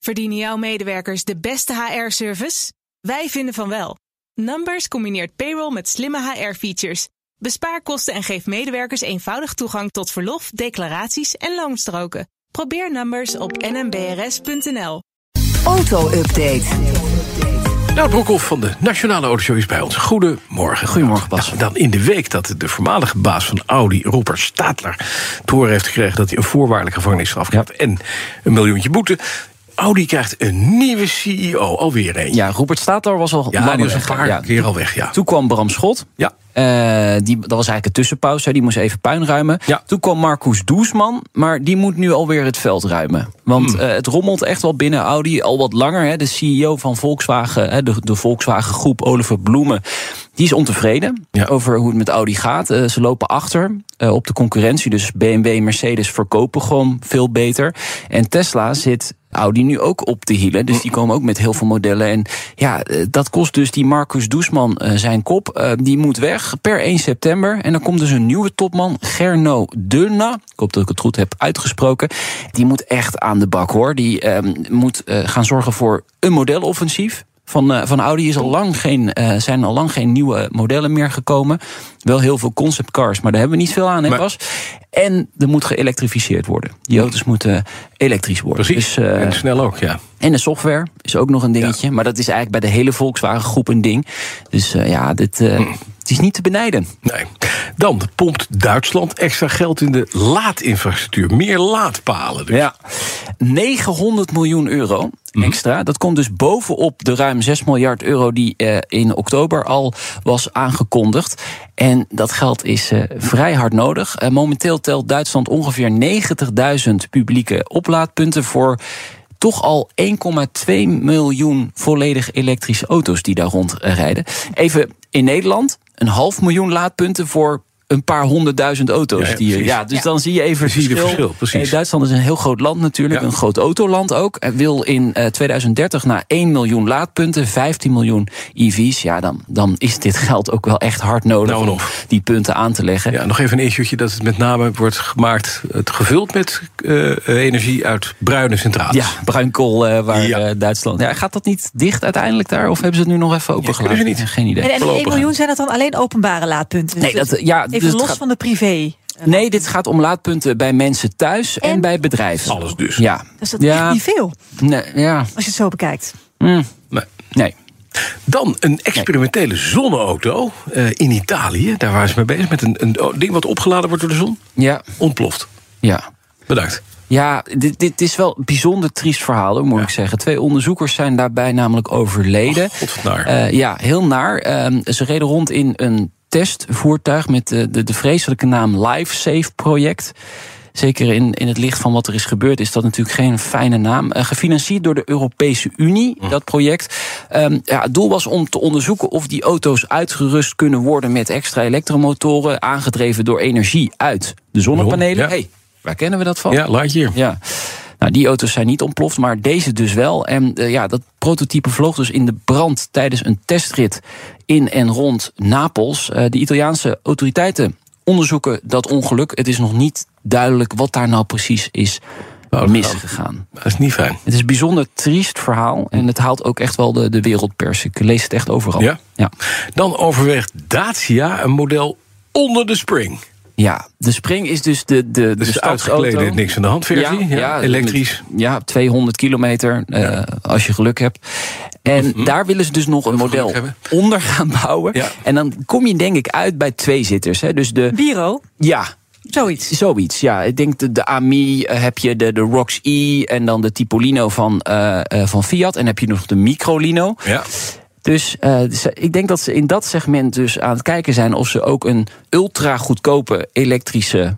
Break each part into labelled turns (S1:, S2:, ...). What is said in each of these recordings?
S1: Verdienen jouw medewerkers de beste HR-service? Wij vinden van wel. Numbers combineert payroll met slimme HR-features. Bespaar kosten en geef medewerkers eenvoudig toegang tot verlof, declaraties en loonstroken. Probeer Numbers op nmbrs.nl.
S2: Auto-update.
S3: Nou, Broekhoff van de Nationale Autoshow is bij ons. Goedemorgen.
S4: Goedemorgen, Bas.
S3: Nou, dan in de week dat de voormalige baas van Audi, Robert Stadler... te horen heeft gekregen dat hij een voorwaardelijke gevangenisstraf krijgt... en een miljoentje boete. Audi krijgt een nieuwe CEO, alweer een.
S4: Ja, Robert Stadler was al
S3: Ja,
S4: langer
S3: die was een
S4: weg, hè?
S3: paar
S4: Ja.
S3: keer al weg, ja.
S4: Toen kwam Bram Schot.
S3: Ja.
S4: Eh, die, dat was eigenlijk een tussenpauze. hè. Die moest even puin ruimen.
S3: Ja.
S4: Toen kwam Marcus Doesman. Maar die moet nu alweer het veld ruimen. Want
S3: Hmm.
S4: eh, het rommelt echt wel binnen Audi al wat langer. Hè. De CEO van Volkswagen, hè, de, de Volkswagen groep, Oliver Bloemen. Die is ontevreden
S3: Ja.
S4: over hoe het met Audi gaat. Eh, ze lopen achter eh, op de concurrentie. Dus BMW en Mercedes verkopen gewoon veel beter. En Tesla zit Audi nu ook op de hielen. Dus die komen ook met heel veel modellen. En ja, eh, dat kost dus die Marcus Doesman eh, zijn kop. Eh, die moet weg per 1 september. En dan komt dus een nieuwe topman, Gerno Dunna. Ik hoop dat ik het goed heb uitgesproken. Die moet echt aan de bak hoor. Die ehm, moet eh, gaan zorgen voor een modeloffensief. Van, eh, van Audi is al lang geen, eh, zijn al lang geen nieuwe modellen meer gekomen. Wel heel veel conceptcars, maar daar hebben we niet veel aan, hè,
S3: Maar-
S4: Bas? En er moet geëlektrificeerd worden. Die auto's moeten elektrisch worden.
S3: Precies,
S4: Dus, eh,
S3: en snel ook, ja.
S4: en de software is ook nog een dingetje. Maar dat is eigenlijk bij de hele Volkswagen groep een ding. Dus eh, ja, dit, eh,
S3: Hm.
S4: het is niet te benijden.
S3: Nee. Dan pompt Duitsland extra geld in de laadinfrastructuur. Meer laadpalen dus.
S4: Ja. 900 miljoen euro
S3: Mhm.
S4: extra. Dat komt dus bovenop de ruim 6 miljard euro die eh, in oktober al was aangekondigd. En dat geld is eh, vrij hard nodig. Eh, momenteel telt Duitsland ongeveer 90.000 publieke oplaadpunten voor toch al 1,2 miljoen volledig elektrische auto's die daar rondrijden. Even in Nederland, een half miljoen laadpunten voor een paar honderdduizend auto's.
S3: Ja, ja,
S4: die, je-
S3: precies.
S4: ja, dus dan zie je even
S3: Zie je de verschil, precies.
S4: eh, Duitsland is een heel groot land natuurlijk,
S3: Ja.
S4: een groot autoland ook. Het wil in eh, 2030 naar 1 miljoen laadpunten, 15 miljoen EV's. Ja, dan, dan is dit geld ook wel echt hard nodig
S3: Nou, en
S4: om
S3: of.
S4: die punten aan te leggen.
S3: Ja, nou, nog even een issue'tje dat het met name wordt gemaakt, het gevuld met eh, energie uit bruine centrales.
S4: Ja, bruinkool eh, waar
S3: Ja.
S4: eh, Duitsland. Ja, gaat dat niet dicht uiteindelijk daar? Of hebben ze het nu nog even opengelaten?
S3: kunnen ze niet.
S4: Geen idee.
S2: En, en die 1
S3: Voorlopig.
S2: miljoen zijn dat dan alleen openbare laadpunten? Dus
S4: Nee, dat, eh, ja, dus
S2: even
S4: het
S2: los
S4: gaat-
S2: van de privé.
S4: nee, dit gaat om laadpunten bij mensen thuis en,
S2: En-
S4: bij bedrijven.
S3: Alles dus.
S4: Ja.
S2: Dus dat is echt
S4: ja.
S2: niet veel,
S4: Nee, ja.
S2: als je het zo bekijkt.
S4: Mm,
S3: Nee.
S4: nee.
S3: Dan een experimentele zonneauto eh, in Italië. Daar waren ze mee bezig met een, een ding wat opgeladen wordt door de zon.
S4: Ja.
S3: Ontploft.
S4: Ja.
S3: Bedankt.
S4: Ja, dit, dit is wel een bijzonder triest verhaal, hoor, moet
S3: Ja. Oh,
S4: ik zeggen. Twee onderzoekers zijn daarbij namelijk overleden.
S3: Och, God, wat naar.
S4: Eh, ja, heel naar. Ehm, ze reden rond in een testvoertuig met de, de, de vreselijke naam LifeSafe Project. Zeker in, in het licht van wat er is gebeurd, is dat natuurlijk geen fijne naam. Eh, gefinancierd door de Europese Unie,
S3: Hm.
S4: dat project. Ehm, ja, het doel was om te onderzoeken of die auto's uitgerust kunnen worden met extra elektromotoren, aangedreven door energie uit de zonnepanelen.
S3: Ja.
S4: hey, waar kennen we dat van?
S3: Ja, laat hier.
S4: Oh. Ja. Nou, die auto's zijn niet ontploft, maar deze dus wel. En eh, ja, dat prototype vloog dus in de brand tijdens een testrit in en rond Napels. Eh, de Italiaanse autoriteiten onderzoeken dat ongeluk. Het is nog niet duidelijk wat daar nou precies is
S3: Fout gedaan.
S4: misgegaan.
S3: Dat is niet fijn.
S4: Het is een bijzonder triest verhaal en het haalt ook echt wel de, de wereldpers. Ik lees het echt overal.
S3: Ja?
S4: Ja.
S3: Dan overweegt Dacia een model onder de spring.
S4: Ja, de Spring is dus de, de,
S3: Dus
S4: de
S3: uitgeklede,
S4: stadsauto.
S3: niks aan de hand versie. Ja, elektrisch.
S4: met- ja, 200 kilometer eh, als je geluk hebt. En daar willen ze dus nog een model
S3: Mhm. geluk hebben.
S4: onder gaan bouwen.
S3: Ja.
S4: En dan kom je denk ik uit bij twee zitters. Hè. Dus de,
S2: Biro,
S4: ja,
S2: zoiets.
S4: zoiets. Ja, ik denk de, de AMI eh, heb je, de, de ROX E en dan de Tipolino van, eh, eh, van Fiat. En heb je nog de Microlino.
S3: Ja.
S4: Dus eh, ze- ik denk dat ze in dat segment dus aan het kijken zijn of ze ook een ultra goedkope elektrische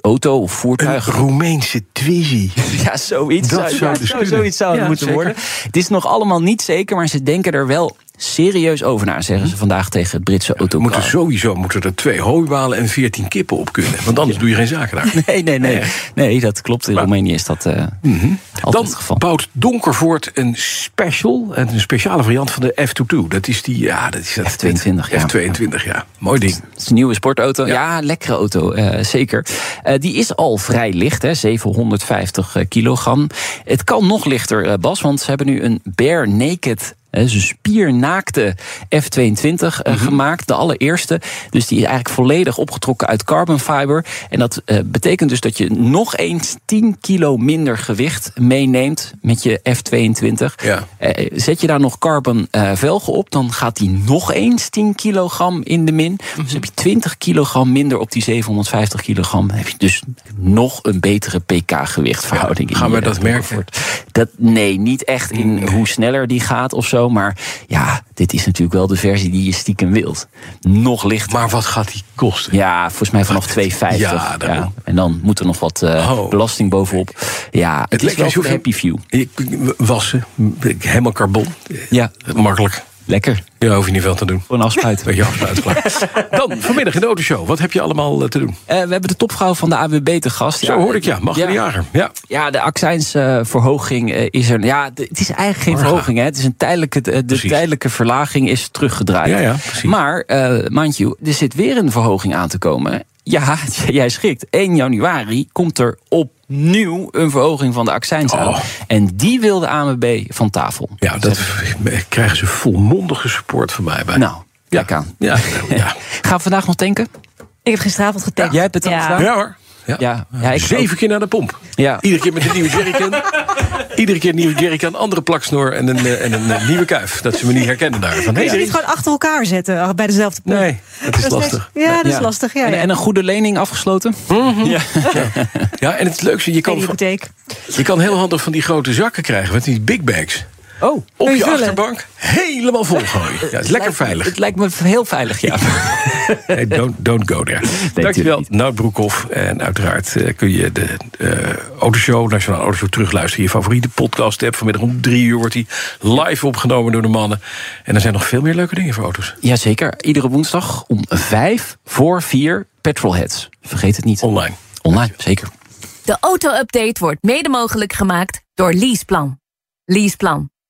S4: auto of
S3: Een
S4: voertuig
S3: Roemeense Twizy.
S4: ja, zoiets
S3: Dat
S4: zou,
S3: zou
S4: ja,
S3: dus
S4: zo-
S3: kunnen.
S4: zoiets zou het
S3: Ja,
S4: moeten
S3: zeker.
S4: worden. Het is nog allemaal niet zeker, maar ze denken er wel serieus over na, zeggen ze vandaag tegen het Britse
S3: We Mhm. moeten
S4: autocar.
S3: sowieso moeten er twee hooibalen en veertien kippen op kunnen. Want anders doe je geen zaken daar.
S4: Nee, nee, nee. Nee, dat klopt. In
S3: Maar- Mhm.
S4: Roemenië is dat eh, altijd
S3: Dan
S4: het geval.
S3: bouwt Donkervoort een special, een speciale variant van de F22. Dat is die, ja, dat is dat,
S4: F22, ja.
S3: F22, ja. Mooi ding.
S4: Het is een nieuwe sportauto. Ja, lekkere auto, eh, zeker. Eh, die is al vrij licht, hè, 750 kilogram. Het kan nog lichter, eh, Bas, want ze hebben nu een bare naked... hè, Dus een spiernaakte F22 eh,
S3: Mhm.
S4: gemaakt, de allereerste. Dus die is eigenlijk volledig opgetrokken uit carbon fiber. En dat eh, betekent dus dat je nog eens 10 kilo minder gewicht meeneemt met je F22.
S3: Ja.
S4: Eh, Zet je daar nog carbon eh, velgen op, dan gaat die nog eens 10 kilogram in de min.
S3: Mhm.
S4: Dus heb je 20 kilogram minder op die 750 kilogram. Dan heb je dus nog een betere pk-gewichtverhouding. in
S3: gaan
S4: je
S3: we dat merken?
S4: comfort. Dat, nee, niet echt in hoe sneller die gaat of zo. Maar ja, dit is natuurlijk wel de versie die je stiekem wilt. Nog lichter.
S3: Maar wat gaat die kosten?
S4: Ja, volgens mij vanaf 2,50.
S3: Ja, daarom.
S4: En dan moet er nog wat eh,
S3: Oh.
S4: belasting bovenop. Ja, het, is
S3: lekker
S4: wel voor de
S3: hoeveel-
S4: happy view.
S3: Ik- Wassen, helemaal carbon. Eh,
S4: Ja,
S3: Makkelijk.
S4: lekker.
S3: Daar hoef je niet veel te doen.
S4: Gewoon afsluiten.
S3: Dat je afsluit klaar. Dan, vanmiddag in de autoshow. Wat heb je allemaal eh, te doen?
S4: Eh, we hebben de topvrouw van de AWB te gast. eh,
S3: Zo hoorde ik, ja. Mag de jager. Ja.
S4: Ja, de accijnsverhoging eh, is er. Ja, de- het is eigenlijk geen
S3: Morgen.
S4: verhoging. Hè. Het is een tijdelijke, eh, de
S3: Precies.
S4: tijdelijke verlaging is teruggedraaid.
S3: Ja, ja, precies.
S4: Maar, eh mind you, er zit weer een verhoging aan te komen. Ja, jij schrikt. 1 januari komt er opnieuw een verhoging van de accijns
S3: Oh.
S4: aan. En die wil de AMB van tafel.
S3: Ja, dat krijgen ze volmondige support van mij bij.
S4: Nou, kijk aan.
S3: Ja, ja.
S4: Gaan we vandaag nog tanken?
S2: Ik heb gisteravond getankt.
S4: Jij hebt het al gedaan?
S3: ja hoor. Ja.
S4: Ah. Ja, ja, ik-
S3: Zeven keer naar de pomp.
S4: Ja.
S3: Iedere keer met een nieuwe jerrycan. Iedere keer een nieuwe jerrycan, andere plaksnoor en een, eh, en een eh, nieuwe kuif. Dat ze me niet herkennen daar. Van,
S2: Kun je
S3: hey,
S2: ze niet gewoon achter elkaar zetten ah, bij dezelfde pomp?
S3: nee, dat is
S2: Dat is
S3: lastig.
S2: niks. Ja, dat is
S4: Ja.
S2: lastig. Ja,
S4: en,
S2: ja.
S4: en een goede lening afgesloten? Ja.
S3: Mhm. Ja, en het leukste, je
S2: Geen
S3: kan, van-
S2: hypotheek.
S3: je kan heel handig van die grote zakken krijgen. Met die big bags.
S4: Oh,
S3: Op
S2: Kun je
S3: je
S2: vullen?
S3: achterbank helemaal volgooien. Ja, het is lekker
S4: lijkt-
S3: veilig.
S4: Het lijkt me heel veilig, ja.
S3: Hey, don't, don't go there.
S4: tuurlijk
S3: Dankjewel,
S4: niet.
S3: Nout Broekhoff. En uiteraard eh, kun je de eh Autoshow, Nationale Autoshow, terugluisteren. Je favoriete podcast app. Vanmiddag om drie uur wordt die live opgenomen door de mannen. En er zijn nog veel meer leuke dingen voor auto's.
S4: Jazeker, iedere woensdag om vijf voor vier petrolheads. Vergeet het niet.
S3: Online.
S4: Online, zeker.
S5: De auto-update wordt mede mogelijk gemaakt door Leaseplan. Leaseplan.